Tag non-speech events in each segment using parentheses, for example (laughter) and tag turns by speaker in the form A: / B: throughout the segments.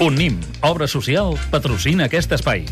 A: UNIM, obra social, patrocina aquest espai.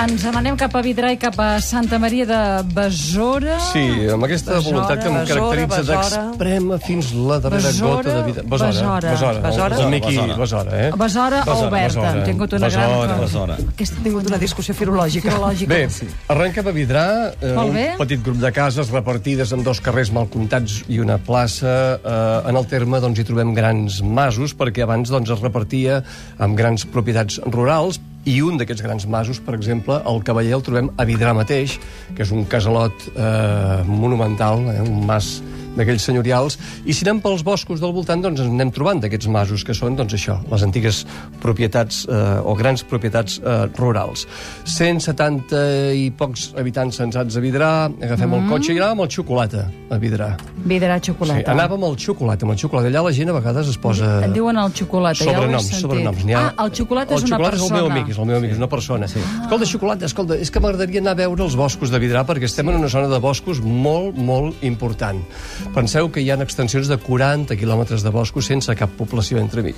B: Ens n'anem cap a Vidrà i cap a Santa Maria de Besora.
C: Sí, amb aquesta
D: Besora,
C: voluntat que em
D: Besora,
C: caracteritza
D: Besora.
C: d'exprema fins la darrera
B: Besora,
C: gota de vida.
B: Besora.
C: Besora.
D: Besora?
C: El miqui
E: Besora.
C: Besora, eh?
B: Besora o Oberta. Hem tingut una gran...
E: Besora, Besora.
B: Aquesta
D: Hem tingut una discussió filològica.
B: filològica.
C: Bé, arrenca de Vidrà, eh,
B: Molt
C: un
B: bé.
C: petit grup de cases repartides en dos carrers mal comptats i una plaça. Eh, en el terme doncs, hi trobem grans masos, perquè abans doncs, es repartia amb grans propietats rurals, i un d'aquests grans masos, per exemple, el Cavaller el trobem a Vidrà mateix, que és un casalot eh, monumental, eh, un mas d'aquells senyorials, i si anem pels boscos del voltant, doncs ens anem trobant d'aquests masos, que són, doncs això, les antigues propietats eh, o grans propietats eh, rurals. 170 i pocs habitants censats a Vidrà, agafem mm. el cotxe i anàvem al xocolata, a Vidrà.
B: Vidrà
C: Sí,
B: xocolata.
C: anàvem al xocolata, amb el xocolata. Allà la gent a vegades es posa...
B: Et diuen el xocolata, ja ho he
C: sobrenoms,
B: sentit.
C: Sobrenoms, N'hi
B: Ah, el xocolata és una
C: El xocolata és el
B: persona.
C: meu
B: Ah.
C: amic, és el meu amic, és una persona. Sí. Escolta, xocolata, escolta, és que m'agradaria anar a veure els boscos de Vidrà perquè estem en una zona de boscos molt, molt important. Penseu que hi ha extensions de 40 quilòmetres de boscos sense cap població entremig.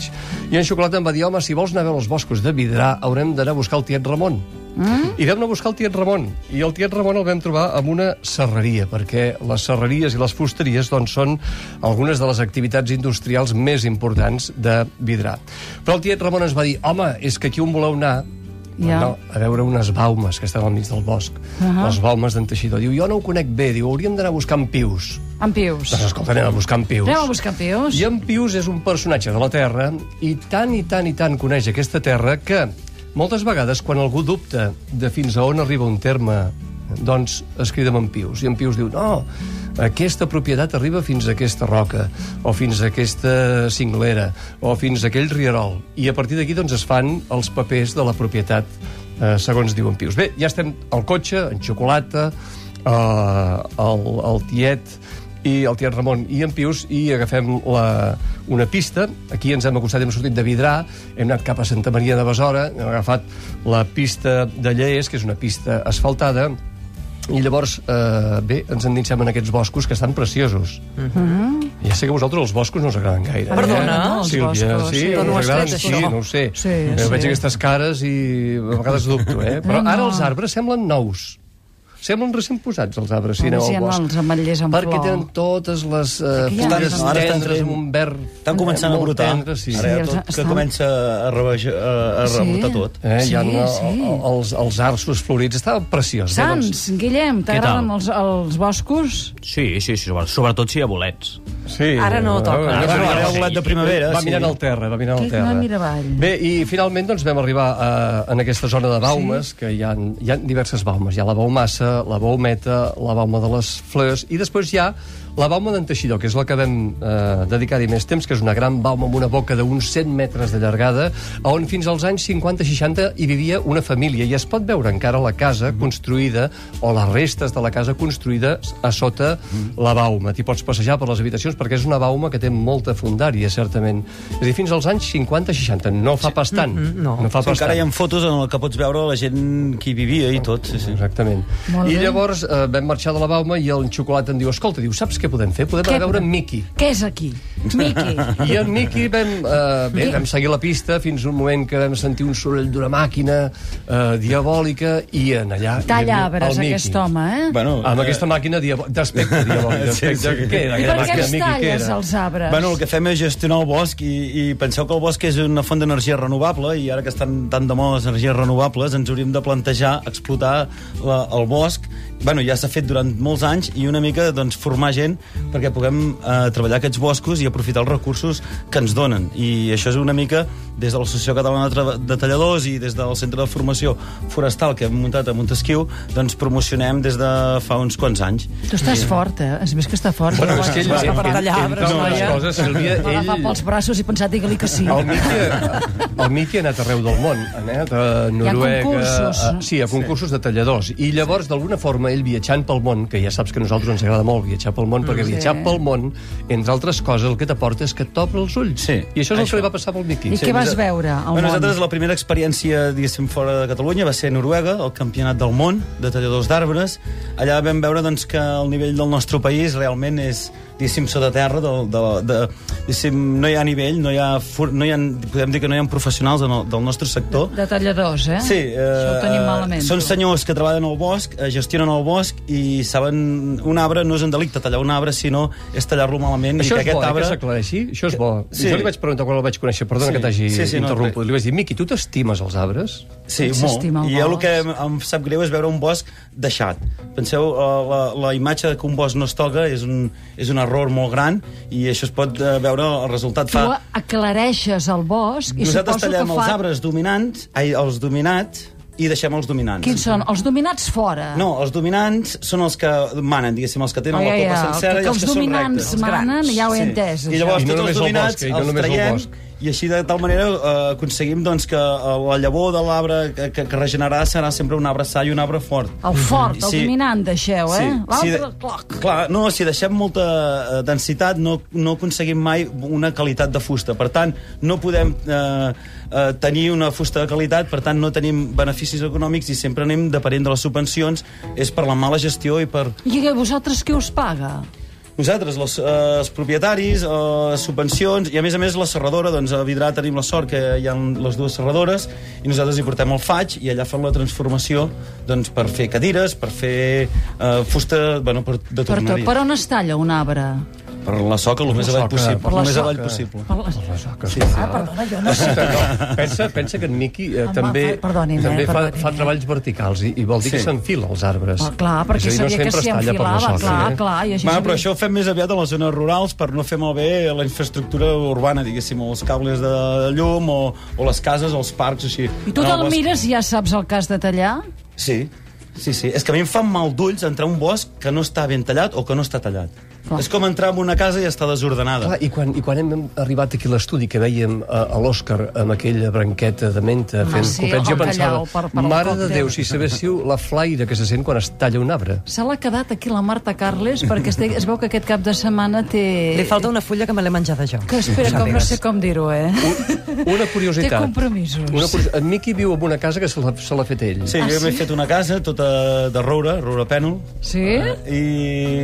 C: I en xocolata em va dir, home, si vols anar a veure els boscos de Vidrà haurem d'anar a buscar el tiet Ramon. Mm? I vam anar a buscar el tiet Ramon. I el tiet Ramon el vam trobar en una serreria, perquè les serreries i les fusteries doncs, són algunes de les activitats industrials més importants de Vidrà. Però el tiet Ramon ens va dir, home, és que aquí on voleu anar
B: Ja.
C: no, a veure unes baumes que estan al mig del bosc. Uh -huh. Les baumes d'en Teixidor. Diu, jo no ho conec bé. Diu, hauríem d'anar buscant pius.
B: Amb pius.
C: Doncs escolta, anem a buscar en pius.
B: Anem a buscar pius.
C: I en Pius és un personatge de la Terra i tant i tant i tant coneix aquesta Terra que moltes vegades quan algú dubta de fins a on arriba un terme doncs es crida amb en Pius i en Pius diu no, aquesta propietat arriba fins a aquesta roca o fins a aquesta cinglera o fins a aquell rierol i a partir d'aquí doncs es fan els papers de la propietat eh, segons diuen Pius. Bé, ja estem al cotxe, en xocolata, eh, el, el tiet, i el tiet Ramon i en Pius i agafem la, una pista. Aquí ens hem acostat, hem sortit de Vidrà, hem anat cap a Santa Maria de Besora, hem agafat la pista de Lleés, que és una pista asfaltada, i llavors, eh, bé, ens endinsem en aquests boscos que estan preciosos. Mm -hmm. Ja sé que a vosaltres els boscos no us agraden gaire.
D: Perdona,
C: eh?
B: els
C: Sílvia,
B: boscos,
C: sí,
B: sí.
D: No, no
C: us
D: ho has
C: agraden,
D: tret,
C: sí,
D: això.
C: no ho sé.
B: Sí,
C: Eh,
B: sí.
C: Veig aquestes cares i a vegades dubto, eh? Però
B: No,
C: ara
B: no.
C: els arbres semblen nous. Semblen recent posats, els arbres, si
B: Home,
C: aneu
B: si
C: al
B: aneu
C: bosc.
B: als ametllers en
C: Perquè
B: flor.
C: tenen totes les eh,
B: Aquí hi ha
C: fulles
B: arbres. Ara
E: estan
C: tendres
E: traient-
C: amb un verd...
E: Estan començant a
C: molt
E: brotar.
C: Tendre, sí.
E: Ara ja
B: els-
E: tot, que
B: estan-
E: comença a, rebaixar, a, a
B: Sí.
E: rebotar tot.
C: Eh,
B: Sí,
C: hi ha no,
B: sí.
C: els, els arços florits. Estava preciós. eh, doncs. Bé,
B: Sants, Guillem, t'agraden
F: tal?
B: els, els boscos?
F: Sí, sí, sí, sobre- sobretot si hi ha bolets.
C: Sí.
D: Ara no toca.
C: Eh,
D: Ara
C: va,
F: no,
C: va,
F: sí.
C: va,
E: de primavera,
C: Va
E: sí.
C: mirant al terra, va mirant al
B: Què que
C: terra.
B: va mirar avall?
C: Bé, i finalment doncs, vam arribar a, en aquesta zona de baumes, sí. que hi ha, hi ha diverses baumes. Hi ha la baumassa, la baumeta, la bauma de les flors, i després hi ha la bauma d'en Teixidor, que és la que vam eh, dedicar-hi més temps, que és una gran bauma amb una boca d'uns 100 metres de llargada, on fins als anys 50-60 hi vivia una família, i es pot veure encara la casa
E: Mhm.
C: construïda, o les restes de la casa construïda a sota
E: Mhm.
C: la bauma. T'hi pots passejar per les habitacions perquè és una bauma que té molta fundària, certament. És a dir, fins als anys 50-60, no fa pas tant. No, no fa
E: Sí,
C: pas
E: encara hi ha
C: tant.
E: fotos en el que pots veure la gent que hi vivia i tot. Sí, sí.
C: Exactament.
B: Molt
C: I
B: bé.
C: llavors eh, vam marxar de la bauma i el xocolat em diu, escolta, diu, saps què podem fer? Podem
B: Què
C: anar a veure
B: podem-
C: en Mickey.
B: Què és aquí?
C: (laughs)
B: Miqui.
C: I en Miqui vam, eh, bé, vam seguir la pista fins un moment que vam sentir un soroll d'una màquina eh, diabòlica i en allà... hi
B: Talla
C: havia
B: arbres,
C: el Mickey.
B: aquest home, eh?
E: Bueno,
C: Amb aquesta màquina diabò- d'aspecte diabòlic.
E: Ah, (laughs) Sí,
C: d'aspecte-
E: sí.
C: Què era?
B: I
C: aquella
B: per què
C: màquina,
B: ens
C: Mickey, què
B: talles
C: era?
B: els arbres?
E: Bueno, el que fem és gestionar el bosc i, i penseu que el bosc és una font d'energia renovable i ara que estan tan de moda les energies renovables ens hauríem de plantejar explotar la, el bosc. Bueno, ja s'ha fet durant molts anys i una mica doncs, formar gent perquè puguem eh, treballar aquests boscos i aprofitar els recursos que ens donen. I això és una mica des de l'Associació Catalana de Tra- de Talladors i des del Centre de Formació Forestal que hem muntat a Montesquieu, doncs promocionem des de fa uns quants anys.
B: Tu estàs fort, eh? És més que està fort.
C: Bueno, és que ell,
D: Vas
C: entre,
D: cap a
C: entre
D: tallar arbres,
C: unes
D: noia.
C: coses, Sílvia,
B: Va agafar
C: ell...
B: pels braços i pensar, digue-li que sí.
C: El Miqui, el Miqui ha anat arreu del món, ha anat a Noruega...
B: concursos.
C: A, sí, a concursos de talladors. I llavors, d'alguna forma, ell viatjant pel món, que ja saps que a nosaltres ens agrada molt viatjar pel món, perquè viatjar pel món, entre altres coses, el que t'aporta és que t'obre els ulls.
E: Sí,
C: I això és el
E: això.
C: que li va passar pel Miqui.
B: I què vas veure al
E: bueno, Nosaltres
B: món?
E: la primera experiència, diguéssim, fora de Catalunya va ser a Noruega, el campionat del món de talladors d'arbres. Allà vam veure doncs, que el nivell del nostre país realment és, diguéssim, sota terra, de, de, de, diguéssim, no hi ha nivell, no hi ha, fur, no hi ha, podem dir que no hi ha professionals en el, del nostre sector.
B: De talladors, eh?
E: Sí, eh,
B: Això ho tenim malament.
E: són senyors que treballen al bosc, eh, gestionen el bosc i saben un arbre no és un delicte tallar un arbre, sinó és tallar-lo malament
C: Això
E: i
C: és
E: que
C: bo,
E: aquest
C: eh,
E: arbre...
C: que s'aclareixi. Això és bo.
E: Sí.
C: Sí. Jo li vaig preguntar quan el vaig conèixer, perdona
E: Sí.
C: que t'hagi
E: Sí,
C: sí,
E: sí,
C: sí,
E: no,
C: interromput.
E: res.
C: li vaig dir, Miqui, tu t'estimes els arbres?
E: Sí,
B: Ell
E: molt.
B: s'estima el
E: I jo el
B: bosc.
E: que em, em sap greu és veure un bosc deixat. Penseu, eh, la, la imatge de que un bosc no es toca és un, és un error molt gran i això es pot eh, veure el resultat.
B: Tu
E: Fa...
B: aclareixes el bosc i
E: Nosaltres
B: suposo que
E: tallem
B: fa...
E: els arbres dominants, ai, els dominats, i deixem els dominants.
B: Quins són? Els dominats fora.
E: No, els dominants són els que manen, diguéssim, els que tenen
B: Ai,
E: la
B: ai,
E: copa
B: ai,
E: sencera
B: que
E: i els
B: els
E: que són
B: dominants
E: rectes.
B: manen, ja ho he entès.
E: I
B: això.
E: llavors
C: I no
E: tots els
C: només el
E: dominats
C: bosc, eh, i no
E: els
C: només el
E: traiem
C: bosc.
E: i així de tal manera eh, aconseguim doncs, que eh, la llavor de l'arbre que, que, que regenerarà serà sempre un arbre sa i un arbre fort.
B: El fort, el
E: Sí.
B: dominant, deixeu, eh?
E: si
B: L'altre,
E: de-
B: el cloc.
E: Clar, no, si deixem molta eh, densitat no, no aconseguim mai una qualitat de fusta. Per tant, no podem eh, eh, tenir una fusta de qualitat, per tant, no tenim beneficis econòmics i sempre anem depenent de les subvencions. És per la mala gestió i per...
B: I a vosaltres qui us paga?
E: Nosaltres, les, eh, els propietaris, eh, subvencions, i a més a més la serradora, doncs a Vidrà tenim la sort que hi ha les dues serradores, i nosaltres hi portem el faig, i allà fan la transformació doncs, per fer cadires, per fer eh, fusta, bueno, per, de
B: Per, tot,
E: torneria.
B: per on es talla un arbre?
E: Per la soca, el més
C: la soca.
E: avall possible.
B: Per la
E: el més
B: soca.
E: avall possible.
B: Per les...
C: Sí, sí.
B: Ah, perdona, jo no sé.
C: Pensa, pensa que en Miqui eh,
B: Em
C: també,
B: va- perdonin, eh,
C: també fa,
B: perdonin,
C: fa
B: eh.
C: treballs verticals i, i vol dir
E: Sí.
C: que s'enfila els arbres.
B: Ah, clar, perquè
C: És a dir,
B: sabia que
C: sempre
B: s'hi
C: es talla per la
B: enfilava,
C: soca,
B: clar,
C: eh?
B: clar. I així
E: Va,
B: sabia-
E: però això ho fem més aviat a les zones rurals per no fer malbé la infraestructura urbana, diguéssim, o els cables de llum, o, o les cases, o els parcs, així.
B: I tu
E: En el
B: te'l
E: bosc-
B: mires i ja saps el cas de tallar?
E: Sí, sí, sí. És que a mi em fan mal d'ulls entrar a un bosc que no està ben tallat o que no està tallat.
B: Clar.
E: És com entrar en una casa i està desordenada.
C: Clar, i quan, i quan hem arribat aquí a l'estudi que veiem eh, a, a l'Òscar amb aquella branqueta de menta fent
B: sí,
C: copets,
B: el
C: jo pensava,
B: callau per- per al
C: mare de
B: còctel.
C: Déu, si sabéssiu la flaire que se sent quan es talla un arbre.
B: Se l'ha quedat aquí la Marta Carles perquè es, es veu que aquest cap de setmana té...
D: Li falta una fulla que me l'he menjada jo.
B: Que espera, com no sé com dir-ho, eh?
C: Una curiositat.
B: Té compromisos.
C: Una curiositat. En Miqui viu en una casa que se l'ha se l'ha fet ell.
E: Sí,
B: Ah,
E: jo m'he
B: sí?
E: fet una casa tota de roure, roure pènol.
B: Sí?
E: Eh,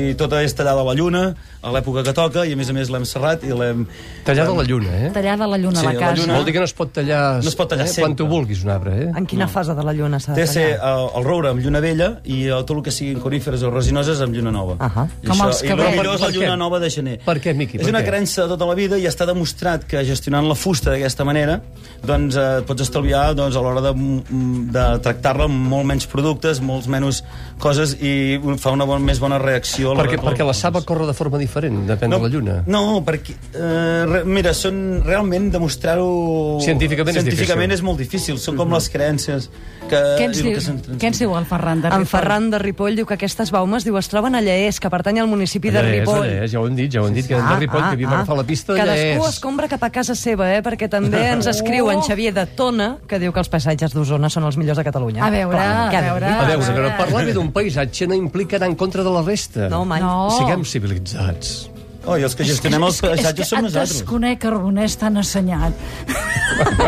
E: I tota és tallada a la lluna, a l'època que toca, i a més a més l'hem serrat i l'hem...
C: Tallada a la lluna, eh?
B: Tallada la lluna
E: Sí,
B: a la
E: la
B: casa.
E: lluna-
C: Vol dir que no es pot tallar,
E: No es pot tallar
C: eh,
E: sempre.
C: quan tu vulguis un arbre, eh?
D: En quina fase de la lluna s'ha
E: Té
D: de
E: de ser
D: tallar?
E: el, el roure amb lluna vella i eh, tot el que siguin coníferes o resinoses amb lluna nova.
D: Ahà.
E: I
B: Com els
E: I el
B: cabells.
E: millor és la
C: Per què?
E: lluna nova de gener.
C: Per què, Miqui,
E: És
C: per
E: una
C: què?
E: creença de tota la vida i està demostrat que gestionant la fusta d'aquesta manera doncs, eh, pots estalviar doncs, a l'hora de, mm, de tractar-la amb molt menys productes, molts menys coses i fa una bon, més bona reacció. a l'hora
C: Perquè,
E: de-
C: perquè la saba corre de forma diferent, depèn de la lluna.
E: No, perquè... Eh, re, mira, són realment demostrar-ho...
C: Científicament és
E: científicament
C: difícil. Mhm.
E: és molt difícil. Són com les creences que...
B: Què ens,
E: i el
B: diu,
E: que se'n-
B: què ens diu el Ferran de
D: En
B: Ripoll?
D: Ferran de Ripoll diu que aquestes baumes diu, es troben a Lleés, que pertany al municipi de
C: Allà és,
D: Ripoll.
C: allà és, ja ho hem dit, ja ho hem dit, que ah, de Ripoll, ah, que havíem agafat la pista de
D: Cadascú
C: Llers.
D: es compra cap a casa seva, eh? perquè també ens escriu en Xavier de Tona, que diu que els paisatges d'Osona són els millors de Catalunya.
B: A veure,
D: Clar, què ha
B: a
D: de
B: veure.
D: dir?
C: A veure, però parlar bé d'un paisatge no implica anar en contra de la resta.
D: No, mai.
B: No.
C: Siguem civilitzats.
E: Oh, i els que gestionem
B: (laughs)
E: els paisatges som
B: Et
E: nosaltres.
B: desconec, Arbonès, tan
E: (laughs)
B: assenyat. (laughs)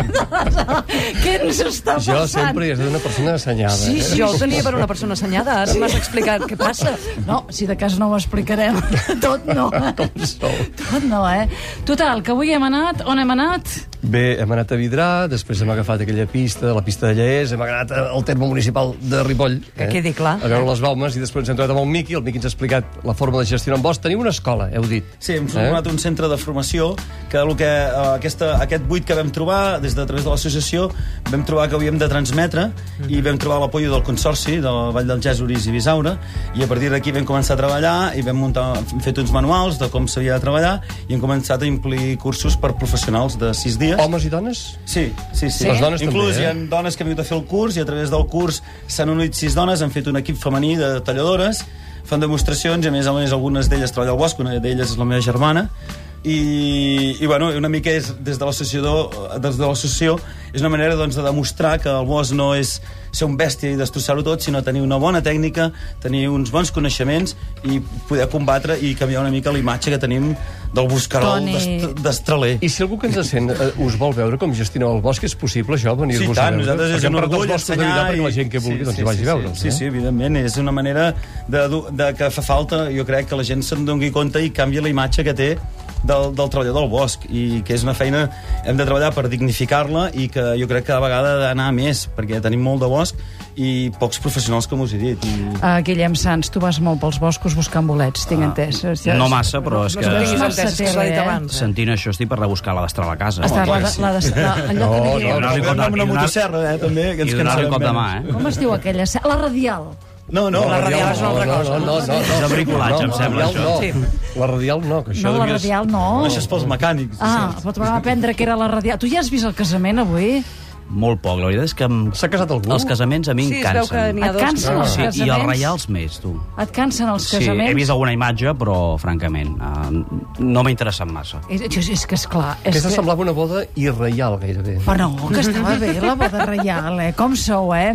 B: Què ens està
C: Jo
B: passant?
C: sempre he estat una persona assenyada.
B: Sí,
C: eh?
B: sí.
D: Jo el tenia per una persona assenyada, ara m'has explicat què
B: (laughs)
D: passa.
B: No, si de cas no ho explicarem. (laughs) Tot no. Com
C: sou.
B: Tot no, eh? Total, que avui hem anat... On hem anat?
C: Bé, hem anat a Vidrà, després hem agafat aquella pista, la pista de Lleés, hem anat al terme municipal de Ripoll. eh?
D: Que quedi clar.
C: A veure les baumes i després ens hem trobat amb el Miqui, el Miqui ens ha explicat la forma de gestionar amb bosc. Teniu una escola, heu dit. Eh?
E: Sí, hem format un centre de formació que, el que eh, aquesta, aquest buit que vam trobar des de a través de l'associació vam trobar que havíem de transmetre i vam trobar l'apoyo del Consorci de la Vall del Gèsuris i Bisaura i a partir d'aquí vam començar a treballar i vam muntar, hem fet uns manuals de com s'havia de treballar i hem començat a implir cursos per professionals de sis dies.
C: Homes i dones?
E: Sí, sí, sí.
C: Les dones
E: Inclús
C: també, eh?
E: hi ha dones que han vingut a fer el curs i a través del curs s'han unit sis dones, han fet un equip femení de talladores, fan demostracions i a més a més algunes d'elles treballen al bosc, una d'elles és la meva germana, i, i bueno, una mica és, des de l'associació des de l'associació és una manera doncs, de demostrar que el bosc no és ser un bèstia i destrossar-ho tot, sinó tenir una bona tècnica, tenir uns bons coneixements i poder combatre i canviar una mica la imatge que tenim del buscarol
B: Toni.
E: d'est- d'estraler.
C: I si algú que ens sent eh, us vol veure com gestioneu el bosc, és possible això, venir-vos a
E: tant,
C: veure?
E: nosaltres és
C: eh? Perquè
E: un
C: hem parlat dels
E: orgull
C: boscos de Vidal perquè la gent que vulgui doncs, hi vagi
E: sí,
C: a veure'ls.
E: Sí,
C: eh?
E: sí, evidentment, és una manera de, du- de que fa falta, jo crec, que la gent se'n doni compte i canvia la imatge que té del, del treballador del bosc i que és una feina hem de treballar per dignificar-la i que jo crec que a vegada ha d'anar a més perquè tenim molt de bosc i pocs professionals com us he dit i...
B: Uh, Guillem Sans, tu vas molt pels boscos buscant bolets, tinc entès.
F: no massa, però és
D: Ah. No
F: que-
D: s'ho
B: No
D: tinguis
B: massa
D: entès, que
B: tele,
D: s'ha dit
B: eh?
D: abans. eh?
F: Sentint això estic per rebuscar la destral a casa.
B: Està, la, la, la, de- la,
D: (laughs)
B: allò que li diuen.
F: no, doncs, no.
E: Podem anar amb una
F: I donar-
E: motosserra, eh, també, que ens
F: I donar-li un
E: cansarem
F: cop de mà,
E: menys.
F: eh?
B: Com es diu aquella? se- La radial.
E: No, no,
D: La radial és una altra
C: no,
D: cosa.
C: No, no, no, no.
F: És de bricolatge, em
C: No,
F: sembla,
C: radial
D: això.
C: No. La radial no, que això...
B: No, la
C: devies-
B: radial no.
E: Això és pels mecànics.
B: Ah, però tornem a aprendre que era la radial. Tu ja has vist el casament avui?
F: eh? Molt poc, la veritat és que... em-
C: S'ha casat algú?
F: Els casaments a mi
D: Sí,
F: em
D: es veu que
F: cansen.
D: n'hi ha
B: Et
D: dos.
B: cansen els
F: Sí, I els
B: casaments?
F: reials més, tu.
B: Et cansen els
F: Sí, he
B: casaments?
F: vist alguna imatge, però, francament, eh, no m'ha interessat massa.
B: És, és, és que, esclar... És
C: Aquesta
B: que...
C: semblava una boda irreial, gairebé.
B: Però no, que estava bé la
D: (laughs)
B: boda reial, eh? Com sou, eh?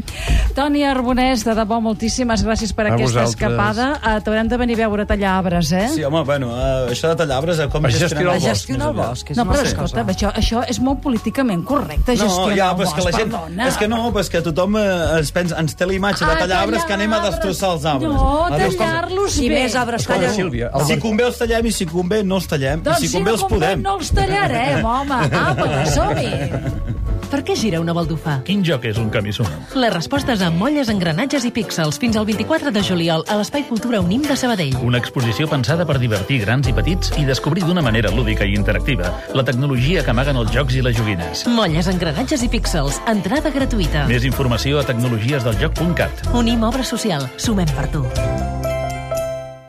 B: Toni Arbonès, de debò, moltíssimes gràcies per
C: A
B: aquesta
C: vosaltres.
B: escapada. Uh, T'haurem de venir a veure tallar arbres, eh?
E: Sí, home, bueno, eh, això de tallar arbres, eh, com
C: A gestionar el
D: A
E: gestionem-
C: bosc,
D: gestionar el bosc és
B: No,
D: una
B: però
D: altra
B: escolta,
D: cosa.
B: això, això és molt políticament correcte,
E: No,
B: gestionar
E: ja,
B: el
E: però és
B: bosc,
E: que la gent...
B: perdona.
E: És que no, però és que tothom eh, es pensa, ens té la imatge de
B: Ah,
E: tallar arbres que anem a
B: arbres.
E: destrossar els arbres.
B: No,
E: Ah, doncs com-
B: tallar-los
D: I
B: bé.
D: més arbres
C: Escolta,
D: tallen.
C: Sílvia,
E: Si
C: el,
E: convé els tallem i si convé no els tallem.
B: Doncs
E: I si convé
B: no
E: els podem.
B: No els tallarem, home. Apa, que som-hi.
G: Per què gira una baldufà?
A: Quin joc és un camí sonat?
G: Les respostes a molles, engranatges i píxels fins al 24 de juliol a l'Espai Cultura Unim de Sabadell.
A: Una exposició pensada per divertir grans i petits i descobrir d'una manera lúdica i interactiva la tecnologia que amaguen els jocs i les joguines.
G: Molles, engranatges i píxels. Entrada gratuïta.
A: Més informació a tecnologiesdeljoc.cat.
G: Unim obra social. Sumem per tu.